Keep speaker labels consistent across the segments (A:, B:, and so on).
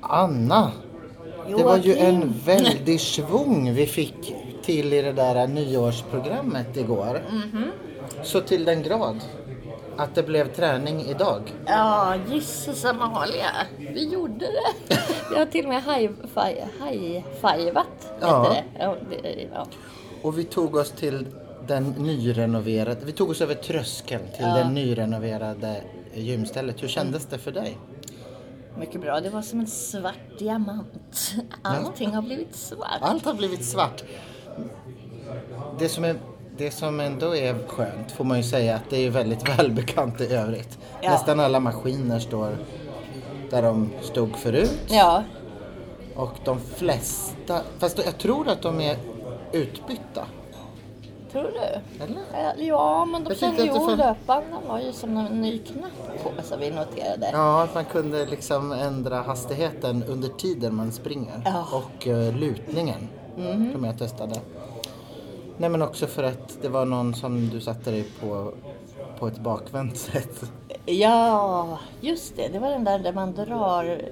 A: Anna, det var ju
B: Joakim.
A: en väldig svung vi fick till i det där nyårsprogrammet igår. Så till den grad att det blev träning idag.
B: Ja, gisses Amalia. Vi gjorde det. Vi har till och med high-fivat.
A: Ja.
B: Ja. Ja, det- ja.
A: Och vi tog oss till den nyrenoverade, vi tog oss över tröskeln till det nyrenoverade gymstället. Hur kändes det för dig?
B: Mycket bra. Det var som en svart diamant. Allting har blivit svart.
A: Allt har blivit svart. Det som, är, det som ändå är skönt får man ju säga att det är ju väldigt välbekant i övrigt.
B: Ja.
A: Nästan alla maskiner står där de stod förut
B: Ja,
A: och de flesta, fast jag tror att de är utbytta.
B: tror du?
A: Eller?
B: Eh, Ja, men de
A: Jag
B: kände
A: tyckte
B: ju
A: att det fan-
B: löpbanden var ju som en ny knapp på som vi noterade.
A: Ja, att man kunde liksom ändra hastigheten under tiden man springer
B: Ja.
A: och eh, lutningen som jag testade. Nej men också för att det var någon som du satte dig på på ett bakvänt sätt.
B: Ja, just det. Det var den där där man drar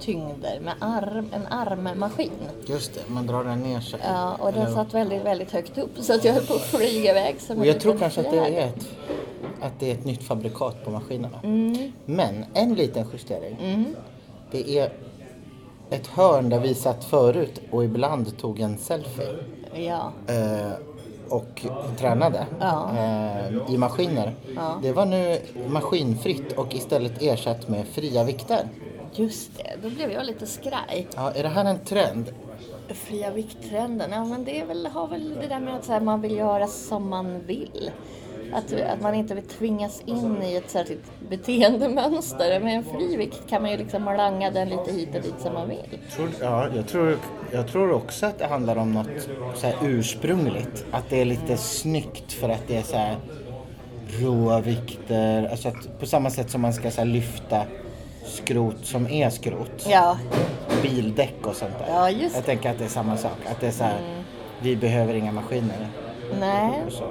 B: tyngder med arm, en armmaskin.
A: Just det, man drar den ner sig.
B: Ja, och den
A: Eller-
B: satt väldigt, väldigt högt upp så att jag höll på att flyga iväg som
A: och
B: en
A: jag tror
B: liten
A: kanske att det,
B: fjäril.
A: är ett, att det är ett nytt fabrikat på maskinerna.
B: Mm.
A: Men en liten justering. Det är ett hörn där vi satt förut och ibland tog en selfie.
B: Ja,
A: eh, och tränade
B: Ja.
A: eh, i maskiner. Det var nu maskinfritt och istället ersatt med fria vikter.
B: just det. Då blev jag lite skraj.
A: Ja, är det här en trend?
B: Fria vikttrenden, ja men det är väl, har väl det där med att så här, man vill göra som man vill. Att, att man inte vill tvingas in i ett särskilt beteendemönster. Med en fri vikt kan man ju liksom langa den lite hit och dit som man vill.
A: ja, jag, tror, jag tror också att det handlar om något så här ursprungligt. Att det är lite snyggt för att det är så här råa vikter. Alltså att på samma sätt som man ska så här lyfta skrot som är skrot.
B: Ja,
A: Bildäck och sånt där.
B: Ja, just Mm.
A: jag
B: det.
A: tänker att det är samma sak. Att det är så här, vi behöver inga maskiner.
B: nej.
A: Och så.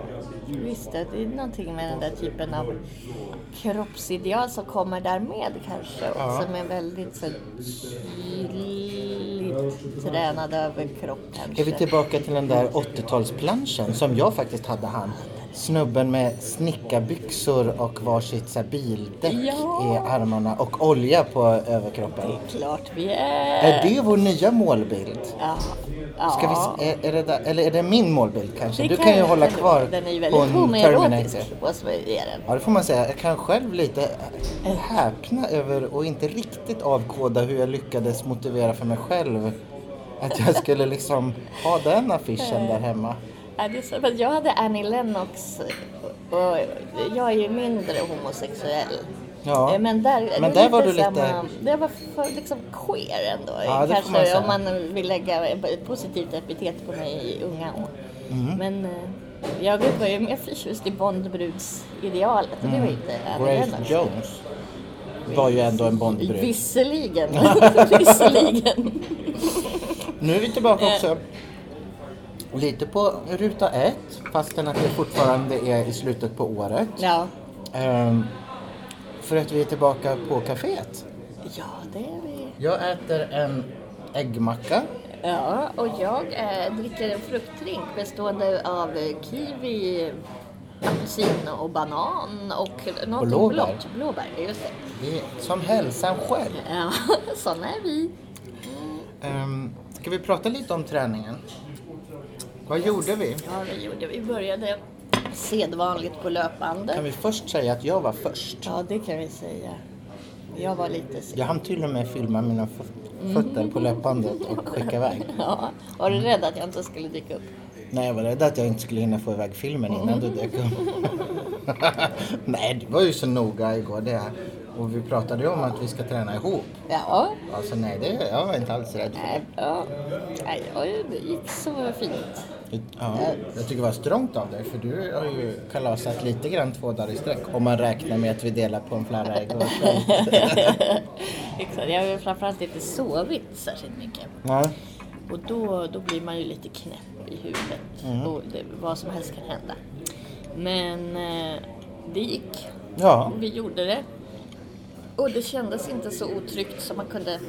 B: Visst, det är någonting med den där typen av kroppsideal som kommer därmed kanske.
A: Ja.
B: Också med väldigt så tydligt tränad överkropp kanske.
A: Är vi tillbaka till den där 80-talsplanschen som jag faktiskt hade han. Snubben med snickarbyxor och varsitt så här, bildäck
B: Ja.
A: i armarna och olja på överkroppen.
B: Klart vi är!
A: Är det vår nya målbild?
B: Ja. ja.
A: Ska vi, är, är det där, eller är det min målbild kanske?
B: Det
A: du kan ju hålla kvar
B: Den är ju väldigt
A: hon Terminator.
B: homoerotisk. Vad som är den.
A: Ja, det får man säga. Jag kan själv lite eh, häpna över och inte riktigt avkoda hur jag lyckades motivera för mig själv att jag skulle liksom ha den affischen där hemma.
B: Ja, det är så, men jag hade Annie Lennox och jag är ju mindre homosexuell.
A: Ja.
B: Eh, Men där,
A: Men
B: det
A: där var du lite-
B: samma- Det var för liksom queer ändå.
A: Ja, det får
B: Kanske
A: man säga.
B: om man vill lägga ett positivt epitet på mig i unga år.
A: Mm.
B: Men eh, jag var ju mer förtjust i Bondbrudsidealet och det
A: Mm.
B: var inte Annie
A: Grace
B: Lennox.
A: Jones var ju ändå en Bondbrud.
B: Visserligen. Visserligen.
A: Nu är vi tillbaka också lite på ruta ett fastän att det fortfarande är i slutet på året.
B: Ja.
A: Ehm, för att vi är tillbaka på kaféet.
B: ja, det är vi.
A: Jag äter en äggmacka.
B: Ja, och jag eh, dricker en fruktdrink bestående av eh, kiwi, apelsin och banan och något
A: blåbär.
B: blått. Blåbär, just det.
A: Det är som hälsan själv.
B: Ja, sådana är vi.
A: Um, ska vi prata lite om träningen? Vad gjorde vi?
B: Ja, vi gjorde. Vi började sedvanligt på löpande.
A: Kan vi först säga att jag var först?
B: Ja, det kan vi säga. Jag var lite sen.
A: Jag hann till och med filma mina fö- fötter på löpbandet och skicka iväg.
B: Ja, var du rädd att jag inte skulle dyka upp?
A: Nej, jag var rädd att jag inte skulle hinna få iväg filmen innan du dök upp. Nej, du var ju så noga igår det. Och vi pratade ju om att vi ska träna ihop.
B: Ja.
A: Alltså nej, det, jag var inte alls rädd för
B: Nej, ja. Nej, oj, det gick så fint.
A: det. Ja, jag tycker det var strångt av dig, för du har ju kalasat lite grann två dagar i sträck. Om man räknar med att vi delar på en flarra igår kväll.
B: Exakt, jag har ju framförallt inte sovit särskilt mycket.
A: Nej.
B: Och då, då blir man ju lite knäpp i huvudet. Och det, vad som helst kan hända. Men eh, det gick.
A: Ja,
B: Vi gjorde det. Och det kändes inte så otryggt som man kunde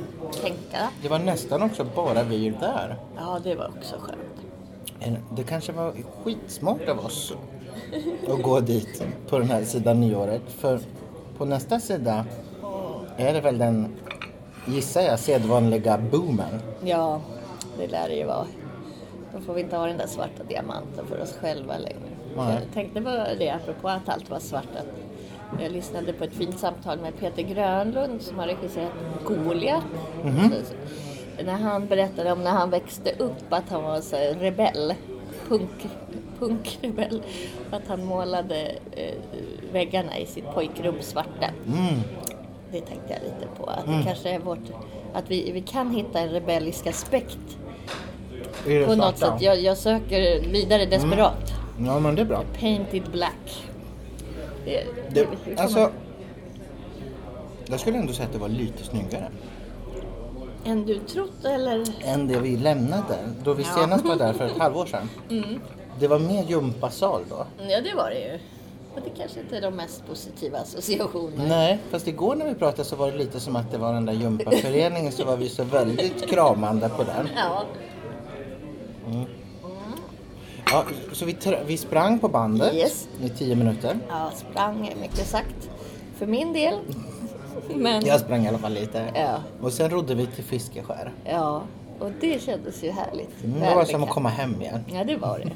B: tänka.
A: Det var nästan också bara vi där.
B: Ja, det var också skönt.
A: En- Eh, Det kanske var skitsmart av oss att gå dit på den här sidan nyåret. För på nästa sida är det väl den, gissar jag, sedvanliga boomen.
B: Ja, det lär det ju vara. Då får vi inte ha den där svarta diamanten för oss själva längre.
A: Nej.
B: Jag tänkte på det apropå att allt var svart. Att jag lyssnade på ett fint samtal med Peter Grönlund som har regisserat Goliat. Så- så- När han berättade om när han växte upp att han var så här rebell. Punk, punkrebell. Och Att han målade eh, väggarna i sitt pojkrum svarta.
A: Mm.
B: Det tänkte jag lite på. Att det kanske är vårt... Att vi, vi kan hitta en rebellisk aspekt
A: Är Mm. det
B: på något
A: svarta?
B: sätt. Jag, jag söker vidare desperat.
A: Ja, men det är bra.
B: Painted black. Det,
A: Det,
B: hur kommer-
A: alltså, jag skulle ändå säga att det var lite snyggare.
B: Än du trott eller?
A: än det vi lämnade. Då vi
B: Ja. Mm.
A: senast var där för ett halvår sedan. Det var mer gympasal då.
B: Ja, det var det ju. Men det kanske inte är de mest positiva associationerna.
A: Nej, fast igår när vi pratade så var det lite som att det var den där gympaföreningen så var vi så väldigt kramande på den.
B: Ja,
A: Ja, så vi, tr- vi sprang på bandet
B: Yes.
A: i tio minuter.
B: ja, sprang är mycket sagt. För min del. Men
A: Jag sprang i alla fall lite.
B: Ja.
A: Och sen rodde vi till Fiskeskär.
B: ja, och det kändes ju härligt.
A: Mm, Det var som att
B: Välbekant.
A: komma hem igen.
B: Ja, det var det.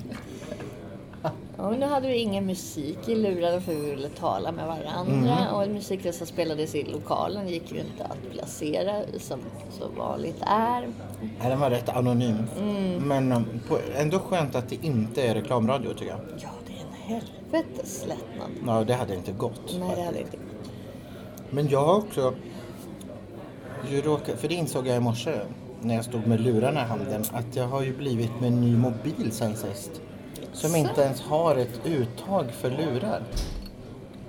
B: Och nu hade vi ingen musik i lurarna för vi ville tala med varandra. Och musiken som spelades i lokalen gick ju inte att placera som så vanligt är.
A: Ja, den var rätt anonym.
B: Mm.
A: Men um, på, ändå skönt att det inte är reklamradio tycker jag.
B: Ja, det är en helvetes lättnad.
A: Ja, det hade inte gått.
B: Nej, det hade inte
A: Men jag har också ju råkat, för det insåg jag i morse när jag stod med lurarna i handen, att jag har ju blivit med en ny mobil sen sist. Som
B: Så.
A: inte ens har ett uttag för lurar.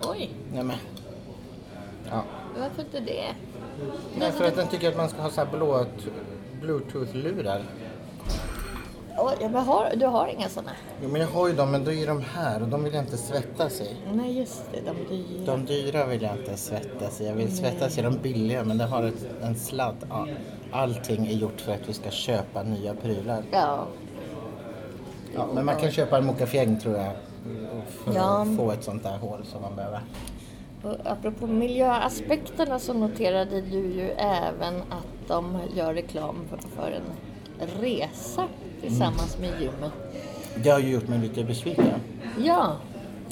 B: Oj,
A: Nej, men. Ja.
B: varför inte det?
A: Nej, för att den tycker att man ska ha så här blå t- bluetooth-lurar.
B: Oj, ja, men har, du har inga sådana?
A: Jo, men jag har ju dem, men då är de här och de vill jag inte svettas i.
B: Nej, just det. De dyra.
A: De dyra vill jag inte svettas i. Jag vill svettas i de billiga, men det har ett, en sladd. Ja, allting är gjort för att vi ska köpa nya prylar.
B: Ja,
A: Ja, men man kan köpa en mockafjäng tror jag. För
B: Ja.
A: att få ett sånt där hål som man behöver.
B: Och apropå miljöaspekterna så noterade du ju även att de gör reklam för- för en resa tillsammans
A: Mm.
B: med gymmet.
A: Det har ju gjort mig lite besviken.
B: Ja,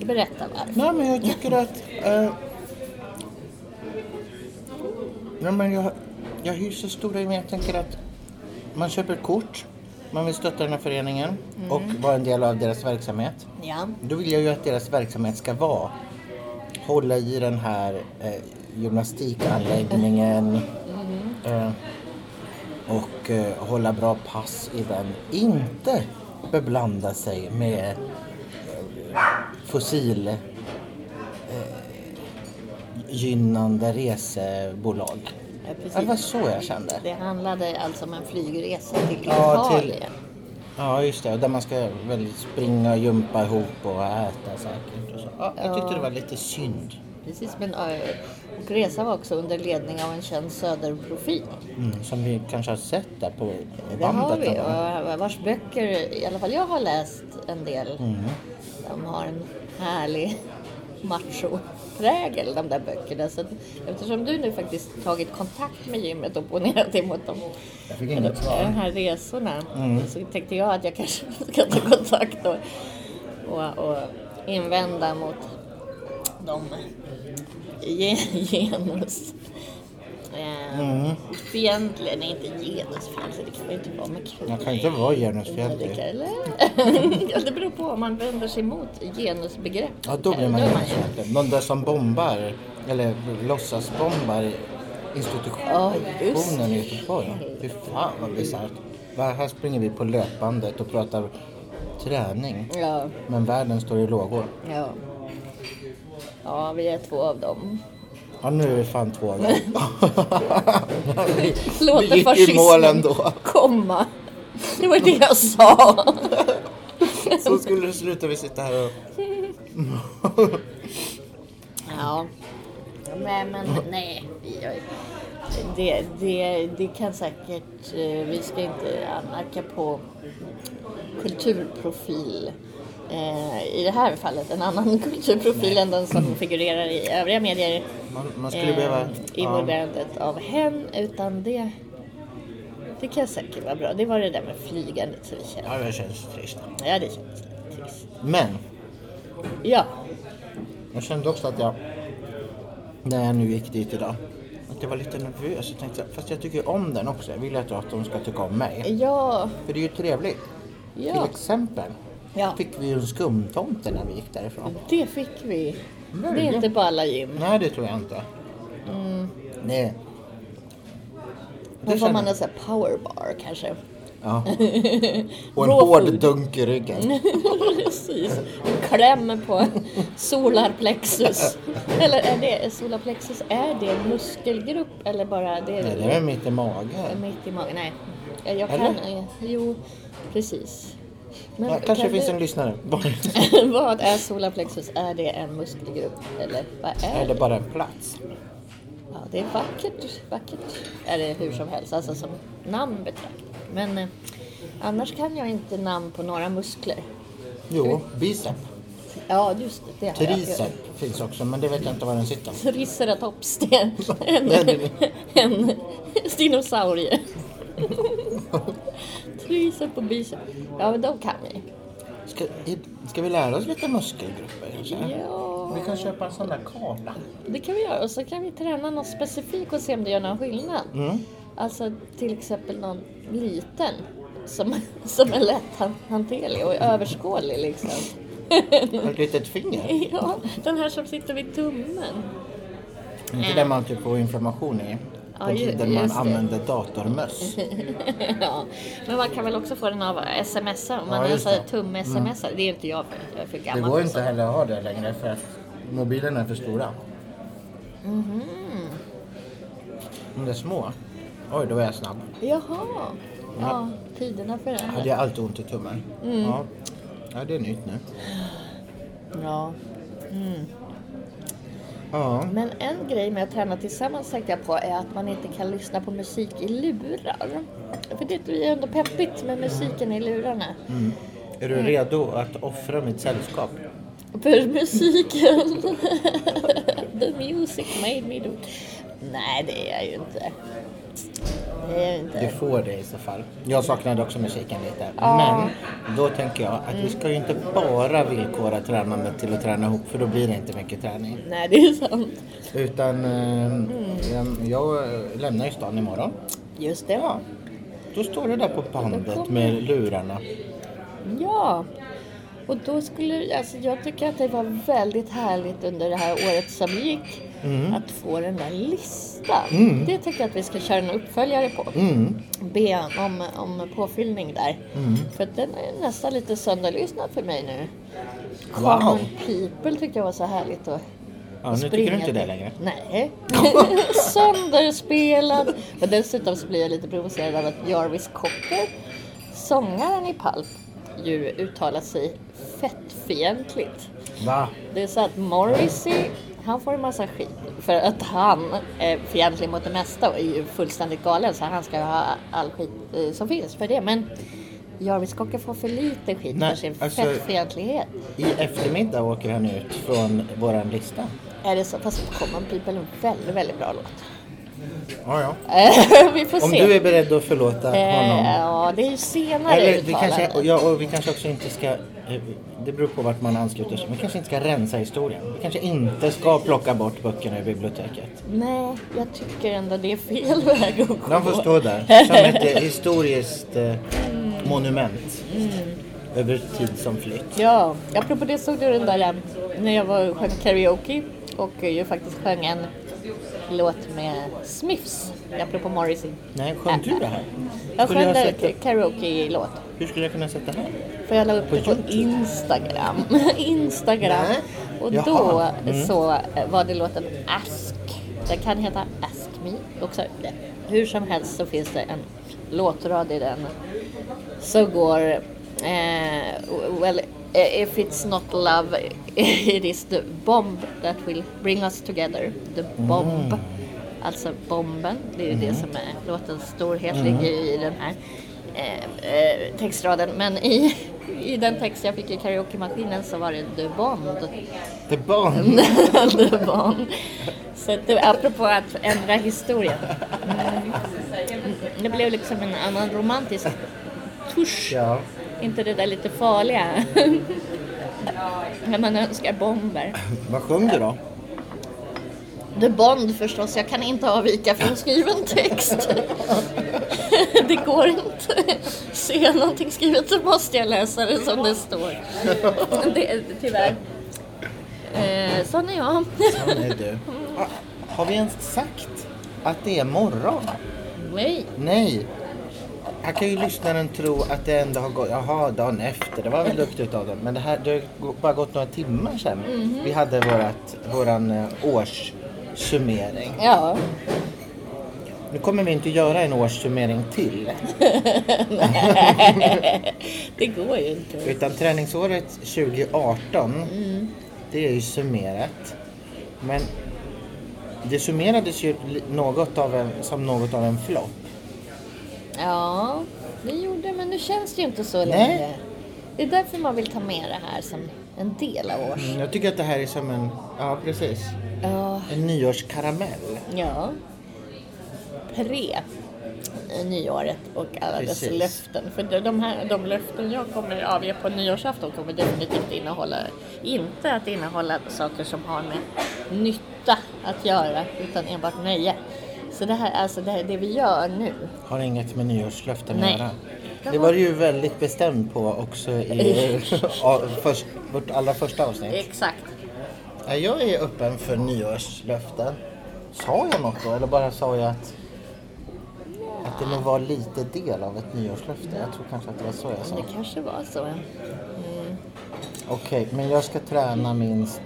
B: berätta varför.
A: Nej men jag tycker att... Eh, nej men jag, jag hyser stora men jag tänker att man köper ett kort, man vill stötta den här föreningen och vara en del av deras verksamhet.
B: Ja,
A: Då vill jag ju att deras verksamhet ska vara hålla i den här eh, gymnastikanläggningen eh, och eh, hålla bra pass i den. Inte beblanda sig med eh, fossil eh, gynnande resebolag.
B: ja,
A: Ja, Det var
B: precis.
A: så jag kände.
B: Det handlade alltså om en flygresa till
A: Ja, till-
B: Italien.
A: Ja, just det. Och Där man ska väl springa och jumpa ihop och äta säkert. Och så. Ja, jag tyckte det var lite synd.
B: Precis, men, ö, och resan var också under ledning av en känd söderprofil.
A: Mm, som vi kanske har sett där på
B: Det har
A: bandet.
B: vi,
A: någon gång.
B: och vars böcker i alla fall jag har läst en del. De har en härlig machoprägel de där böckerna. Så att, eftersom du nu faktiskt tagit kontakt med gymmet och opponerat dig mot dem,
A: Jag fick inget
B: de
A: svar.
B: här resorna så tänkte jag att jag kanske ska ta kontakt och, och, och invända mot de gen- genus... Eh,
A: Mm.
B: Fientlig, nej inte genusfientlig, det kan man ju inte vara. Man kan
A: Jag kan inte vara genusfientlig.
B: Eller? ja, det beror på om man vänder sig mot genusbegrepp.
A: Ja, då blir man
B: ju-
A: genusfientlig. De där som bombar, eller låtsasbombar
B: Ja, just
A: institutionen i Göteborg. Fy fan vad bisarrt. Va, Här springer vi på löpbandet och pratar träning.
B: Ja,
A: Men världen står i lågor.
B: ja. Ja, vi är två av dem.
A: Ja, nu är vi fan två av dem. Vi
B: Låter
A: gick i mål ändå.
B: komma. Det var det jag sa.
A: Så skulle det sluta. Vi sitter här och...
B: Ja, Nej, men nej. Jag- Det, det, det kan säkert... eh, Vi ska inte anmärka på kulturprofil. Eh, I det här fallet en annan kulturprofil än den som figurerar i övriga medier
A: Man, man skulle
B: eh,
A: behöva...
B: involverandet av hen. Utan det, det kan säkert vara bra. Det var det där med flygandet som vi kände.
A: Ja, det känns trist.
B: Ja, det känns lite trist.
A: Men
B: Ja,
A: jag kände också att jag, när jag nu gick dit idag, att jag var lite nervös. Jag tänkte, fast jag tycker om den också. Jag vill ju att att de ska tycka om mig.
B: ja,
A: För det är ju trevligt.
B: ja.
A: Till exempel
B: Ja.
A: fick vi ju en skumtomte när vi gick därifrån.
B: Det fick vi.
A: Mm.
B: Det är inte på alla gym.
A: Nej, det tror jag inte. Nej.
B: Mm. Då får
A: känner
B: man
A: jag.
B: en sån här powerbar kanske.
A: Ja. Och en
B: Raw
A: hård
B: food.
A: dunk i ryggen.
B: Precis. Kläm på solarplexus. Eller är det solarplexus, är det en muskelgrupp eller bara det
A: Nej,
B: är
A: det är mitt i magen.
B: mitt i magen? Nej. Jag kan,
A: Eller?
B: jo, precis. Men
A: Ja, kanske
B: kan
A: finns
B: du-
A: en lyssnare.
B: Vad är solarplexus? Är det en muskelgrupp eller vad är
A: Eller
B: det?
A: bara en plats.
B: Ja, det är vackert, vackert är det hur som helst, alltså som namn betraktat. Men eh, annars kan jag inte namn på några muskler.
A: Jo, bicep.
B: Ja, just det. det har jag.
A: Tricep finns också, men det vet jag inte var den sitter.
B: Triceratops, det är en,
A: Nej, det
B: en dinosaurie. Tricep och bicep. Ja, men de kan vi.
A: Ska, i- ska vi lära oss lite muskelgrupper kanske?
B: Ja,
A: Vi kan köpa en sån där karta.
B: det kan vi göra. Och så kan vi träna något specifikt och se om det gör någon skillnad.
A: Mm.
B: Alltså till exempel någon liten som, som är lätt han- hanterlig och överskådlig liksom.
A: Ett litet finger.
B: Ja, den här som sitter vid tummen.
A: Inte där man typ får information i.
B: Ja,
A: På
B: ju-
A: tiden man
B: just det.
A: använde datormöss.
B: ja. Men man kan väl också få den av sms om
A: Ja,
B: man
A: just
B: ja,
A: det. Mm.
B: tumme-sms. Det är inte jag för, jag är för
A: Det
B: gammal.
A: går
B: för
A: inte
B: sånt.
A: heller att ha det längre för att mobilerna är för stora.
B: Mhm.
A: Om de är små. Oj, då var jag snabb.
B: Jaha. Ja, tiderna förändras.
A: Hade jag alltid ont i tummen.
B: Mm.
A: Ja. ja, det är nytt nu.
B: Ja.
A: Ja,
B: Men en grej med att träna tillsammans tänkte jag på är att man inte kan lyssna på musik i lurar. För det är ju ändå peppigt med musiken i lurarna.
A: är du redo att offra mitt sällskap?
B: För musiken. The music made me do. Nej, det är jag ju inte. Det är jag inte.
A: Du får det i så fall. Jag saknade också musiken lite.
B: Ja.
A: Men då tänker jag att vi ska ju inte bara villkora tränandet till att träna ihop för då blir det inte mycket träning.
B: Nej, det är sant.
A: Utan eh,
B: Mm.
A: jag lämnar ju stan imorgon.
B: Just det.
A: Ja, då står du där på
B: Då
A: bandet
B: kommer-
A: med lurarna.
B: Ja. Och då skulle, alltså jag tycker att det var väldigt härligt under det här året som gick
A: Mm.
B: att få den där listan. Det tycker jag att vi ska köra en uppföljare på.
A: Mm.
B: Be om, om påfyllning där. För att den är nästan lite sönderlyssnad för mig nu.
A: Wow.
B: Common people tyckte jag var så härligt att
A: Ja, nu tycker
B: springa
A: du inte det
B: till.
A: längre.
B: Nej. Sönderspelad. Och dessutom så blir jag lite provocerad av att Jarvis Cocker, sångaren i Palp, ju uttalar sig fettfientligt.
A: Va?
B: Det är så att Morrissey, han får en massa skit för att han är fientlig mot det mesta och är ju fullständigt galen så han ska ju ha all skit eh, som finns för det. Men Jarvis Cocker får för lite skit
A: Nej,
B: för sin
A: alltså-
B: fettfientlighet.
A: I eftermiddag åker han ut från våran lista.
B: Är det så? Fast Common People är en väldigt, väldigt bra låt.
A: Ja, ja.
B: Eh, vi får
A: Om
B: se.
A: du är beredd att förlåta
B: Eh,
A: honom.
B: ja, det är ju senare
A: Eller vi
B: uttalanden.
A: kanske, ja, och vi kanske också inte ska, eh, det beror på vart man ansluter sig, vi kanske inte ska rensa historien. Vi kanske inte ska plocka bort böckerna i biblioteket.
B: Nej, jag tycker ändå det är fel väg att gå.
A: De får stå där som ett eh, historiskt eh, monument
B: Mm.
A: över tid som flytt.
B: Ja, apropå det såg du den där eh, när jag var och sjöng karaoke och eh, ju faktiskt sjöng en låt med Smiths, apropå Morrissey.
A: Nej, sjöng du det här?
B: Jag
A: Skulle
B: sjöng
A: jag
B: en
A: sätta-
B: karaoke-låt.
A: Hur skulle jag kunna sätta här?
B: För jag la upp
A: På
B: det på
A: YouTube?
B: Instagram. Instagram.
A: Nej.
B: Och
A: Jaha.
B: då så eh, var det låten Ask. Den kan heta Ask Me också. Det- Hur som helst så finns det en låtrad i den. Så går eh, Well eh, if it's not love it is the bomb that will bring us together. The bomb. Alltså bomben, det är ju det som är låtens storhet, ligger ju i den här eh, eh, textraden. Men i, i den text jag fick i karaokemaskinen så var det the bomb.
A: The Bond.
B: det var hon. Så att det, apropå att ändra historien. Mm. Det blev liksom en annan romantisk tusch.
A: Ja.
B: Inte det där lite farliga. När man önskar bomber.
A: Vad sjöng du då?
B: The Bond förstås, jag kan inte avvika från skriven text. Det går inte. Ser jag någonting skrivet så måste jag läsa det som det står. Det, tyvärr. Eh, sån är jag.
A: Sån är du. Ah, Har vi ens sagt att det är morgon?
B: Nej.
A: Nej. Här kan ju lyssnaren tro att det ändå har gått, jaha, dagen efter, det var väl duktigt av dem. Men det här, det har ju gå- bara gått några timmar sedan vi hade vårat, våran eh, årssummering.
B: Ja.
A: Nu kommer vi inte göra en årssummering till.
B: Det går ju inte.
A: Utan träningsåret 2018, det är ju summerat. Men det summerades ju li- något av en, som något av en flopp.
B: Ja, det gjorde men nu känns det ju inte så
A: Nej.
B: längre. Det är därför man vill ta med det här som en del av års...
A: Mm, Jag tycker att det här är som en, ja precis,
B: Ja.
A: en nyårskaramell.
B: ja. Pre eh, nyåret och alla
A: Precis.
B: dess löften. För de- de, här, de löften jag kommer avge på nyårsafton kommer definitivt innehålla, inte att innehålla saker som har med nytta att göra utan enbart nöje. Så det här, alltså det, här, det vi gör nu,
A: Har inget med nyårslöften
B: Nej.
A: att göra. Det var du ju väldigt bestämd på också i av- först, vårt allra första avsnitt.
B: exakt.
A: Ja, Jag är öppen för nyårslöften. Sa jag något då eller bara sa jag att, att det nog var lite del av ett nyårslöfte? Jag tror kanske att det var så jag sa.
B: Det kanske var så. ja.
A: Okej, men jag ska träna minst...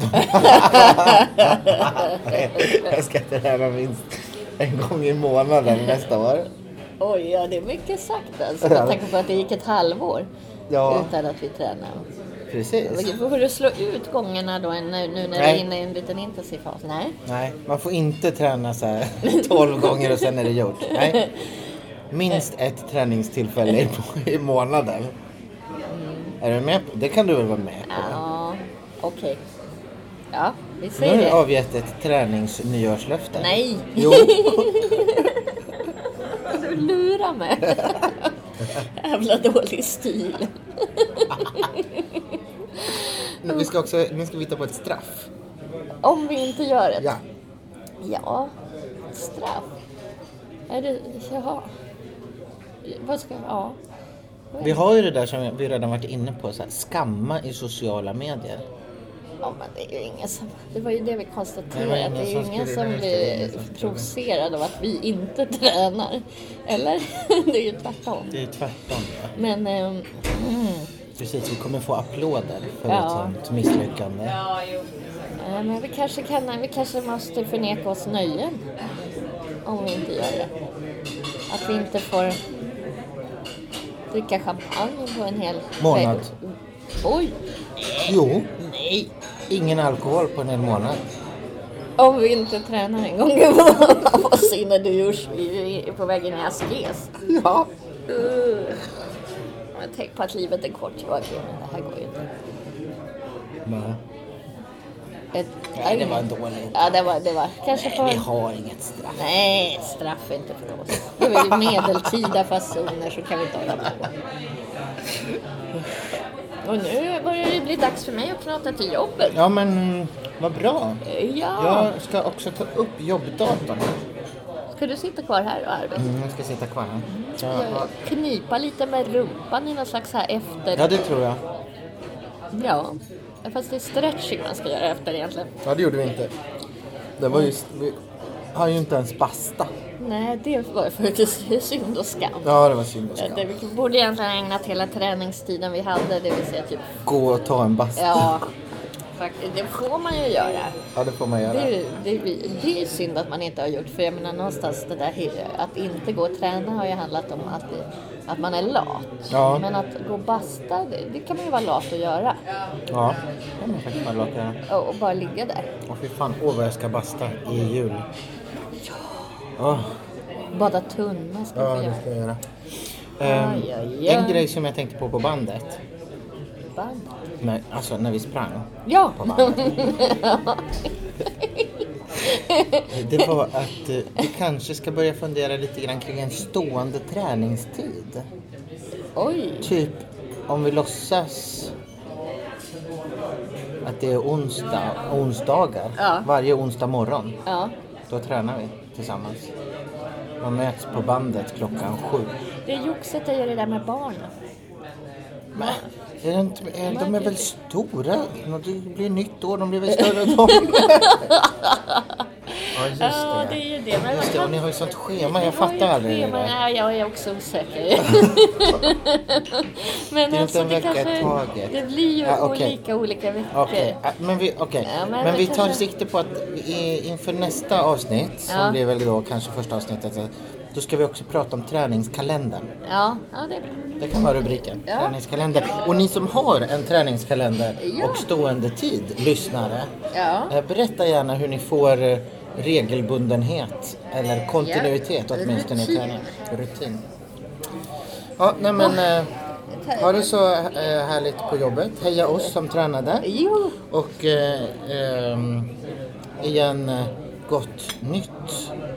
A: jag ska träna minst en gång i månaden nästa år.
B: Oj, ja det är mycket sagt alltså. Med tanke på att det gick ett halvår
A: Ja.
B: utan att vi tränade.
A: Precis.
B: Får du slå ut gångerna då nu, nu när du är
A: Nej.
B: inne i en liten intensiv fas? Nej.
A: Nej, man får inte träna så här 12 gånger och sen är det gjort. Nej. Minst ett träningstillfälle i, i månaden. Är du med på det? kan du väl vara med på?
B: Ja, okej. Ja, vi
A: Nu
B: säger
A: har du
B: det.
A: avgett ett träningsnyårslöfte.
B: Nej.
A: Jo,
B: Du lurar mig. Jävla dålig stil.
A: men vi ska också, nu ska vi hitta på ett straff.
B: Om vi inte gör det.
A: Ja.
B: Ja, straff. Är det, jaha. Vad ska, ja.
A: Vi har ju det där som vi redan varit inne på, så här, skamma i sociala medier.
B: Ja, men det är ju ingen som... Det var ju det vi
A: Det var
B: konstaterade,
A: ingen
B: att det är
A: som
B: ju ingen
A: skulle-
B: som
A: nej, det är
B: blir
A: ingen som skulle.
B: provocerad av att vi inte tränar. Eller? Det är ju tvärtom.
A: Det är tvärtom. Ja.
B: Men... ehm, mm,
A: Precis, vi kommer få applåder för
B: Ja.
A: ett sånt misslyckande.
B: eh, men vi kanske, kan, vi kanske måste förneka oss nöjen. Om vi inte gör det. Att vi inte får dricka champagne på en hel...
A: Månad.
B: Oj!
A: Jo,
B: Nej!
A: ingen alkohol på en hel månad.
B: Om vi inte tränar en gång i månaden. Vad sinne du görs. Vi är på väg in i askes.
A: Ja.
B: Uh. Men tänk på att livet är kort Joakim. Det här går ju inte.
A: Nej,
B: Ett,
A: Nej, det var dåligt.
B: Ja, det var, det var kanske
A: Vi
B: för...
A: har inget straff.
B: Nej, straff är inte för oss. Det var ju medeltida fasoner så kan vi inte hålla på. Och nu börjar det bli dags för mig att knata till jobbet.
A: Ja, men mm, vad bra.
B: Ja,
A: Jag ska också ta upp jobbdatorn.
B: ska du sitta kvar här och arbeta?
A: Mm, jag ska sitta kvar här.
B: Jag-
A: Ja,
B: Knipa lite med rumpan i någon slags här efter...
A: ja det tror jag.
B: Ja, fast det är stretching man ska göra efter egentligen.
A: Ja, det gjorde vi inte. Det var just... Vi har ju inte ens basta.
B: Nej, det var faktiskt synd och skam.
A: Ja, det var synd och skam.
B: Det, vi borde egentligen ha ägnat hela träningstiden vi hade, det vill säga typ,
A: Gå och ta en bastu.
B: ja, Fakt- Det får man ju göra.
A: Ja, det får man göra.
B: Det är, ju- det, är- det är ju synd att man inte har gjort, för jag menar någonstans det där he- att inte gå och träna har ju handlat om att, att man är lat.
A: Ja.
B: Men att gå och basta, det, det kan man ju vara lat och göra.
A: Ja, det kan man faktiskt bara låta göra.
B: Och, och bara ligga där.
A: Åh fy fan, åh vad jag ska basta i jul. Ja.
B: Bada tunna ska
A: ja,
B: vi
A: det
B: göra.
A: ska jag göra. Ehm,
B: Aj, aj,
A: En
B: aj.
A: grej som jag tänkte på på bandet,
B: Band.
A: när, alltså när vi sprang,
B: Ja!
A: på bandet. det var att eh, du kanske ska börja fundera lite grann kring en stående träningstid.
B: Oj!
A: Typ om vi låtsas att det är onsdag, onsdagar
B: Ja.
A: varje onsdag morgon.
B: Ja,
A: Då tränar vi tillsammans. Man möts på bandet klockan sju.
B: det är jox att jag gör det där med barn.
A: Men, är det inte, är, de är väl stora? Det blir nytt år, de blir väl större än dem? ja, just
B: Ja,
A: det.
B: det är ju det. Men
A: Just det, och ni har ju sånt schema, jag
B: Jag har ju
A: fattar aldrig det
B: tre, men-
A: där.
B: Nej, jag är också osäker. men
A: Det är
B: alltså,
A: inte en
B: det
A: vecka i
B: kanske...
A: taget.
B: Det blir ju
A: Ja, okej.
B: olika olika veckor.
A: Okej, ah, men vi, okej.
B: Ja, men
A: men,
B: det
A: vi tar
B: kanske-
A: sikte på att i, inför nästa avsnitt, som
B: Ja.
A: blir väl då kanske första avsnittet, så- då ska vi också prata om träningskalendern.
B: Ja, ja, det är bra.
A: Det kan vara rubriken.
B: Ja.
A: Träningskalender. Och ni som har en träningskalender
B: Ja.
A: och stående tid, lyssnare.
B: Ja.
A: eh, Berätta gärna hur ni får eh, regelbundenhet eller kontinuitet åtminstone i
B: Rutin.
A: träningen. Rutin. Ja, nej men eh, ha det så eh, härligt på jobbet. Heja oss som tränade.
B: Jo,
A: Och eh, ehm, igen, eh, gott nytt.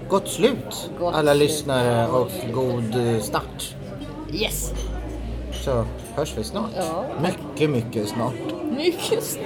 A: Gott slut
B: Gott
A: alla
B: slut.
A: lyssnare och god eh, start.
B: yes.
A: Så hörs vi snart.
B: Ja.
A: Mycket, mycket snart.
B: Mycket snabbt.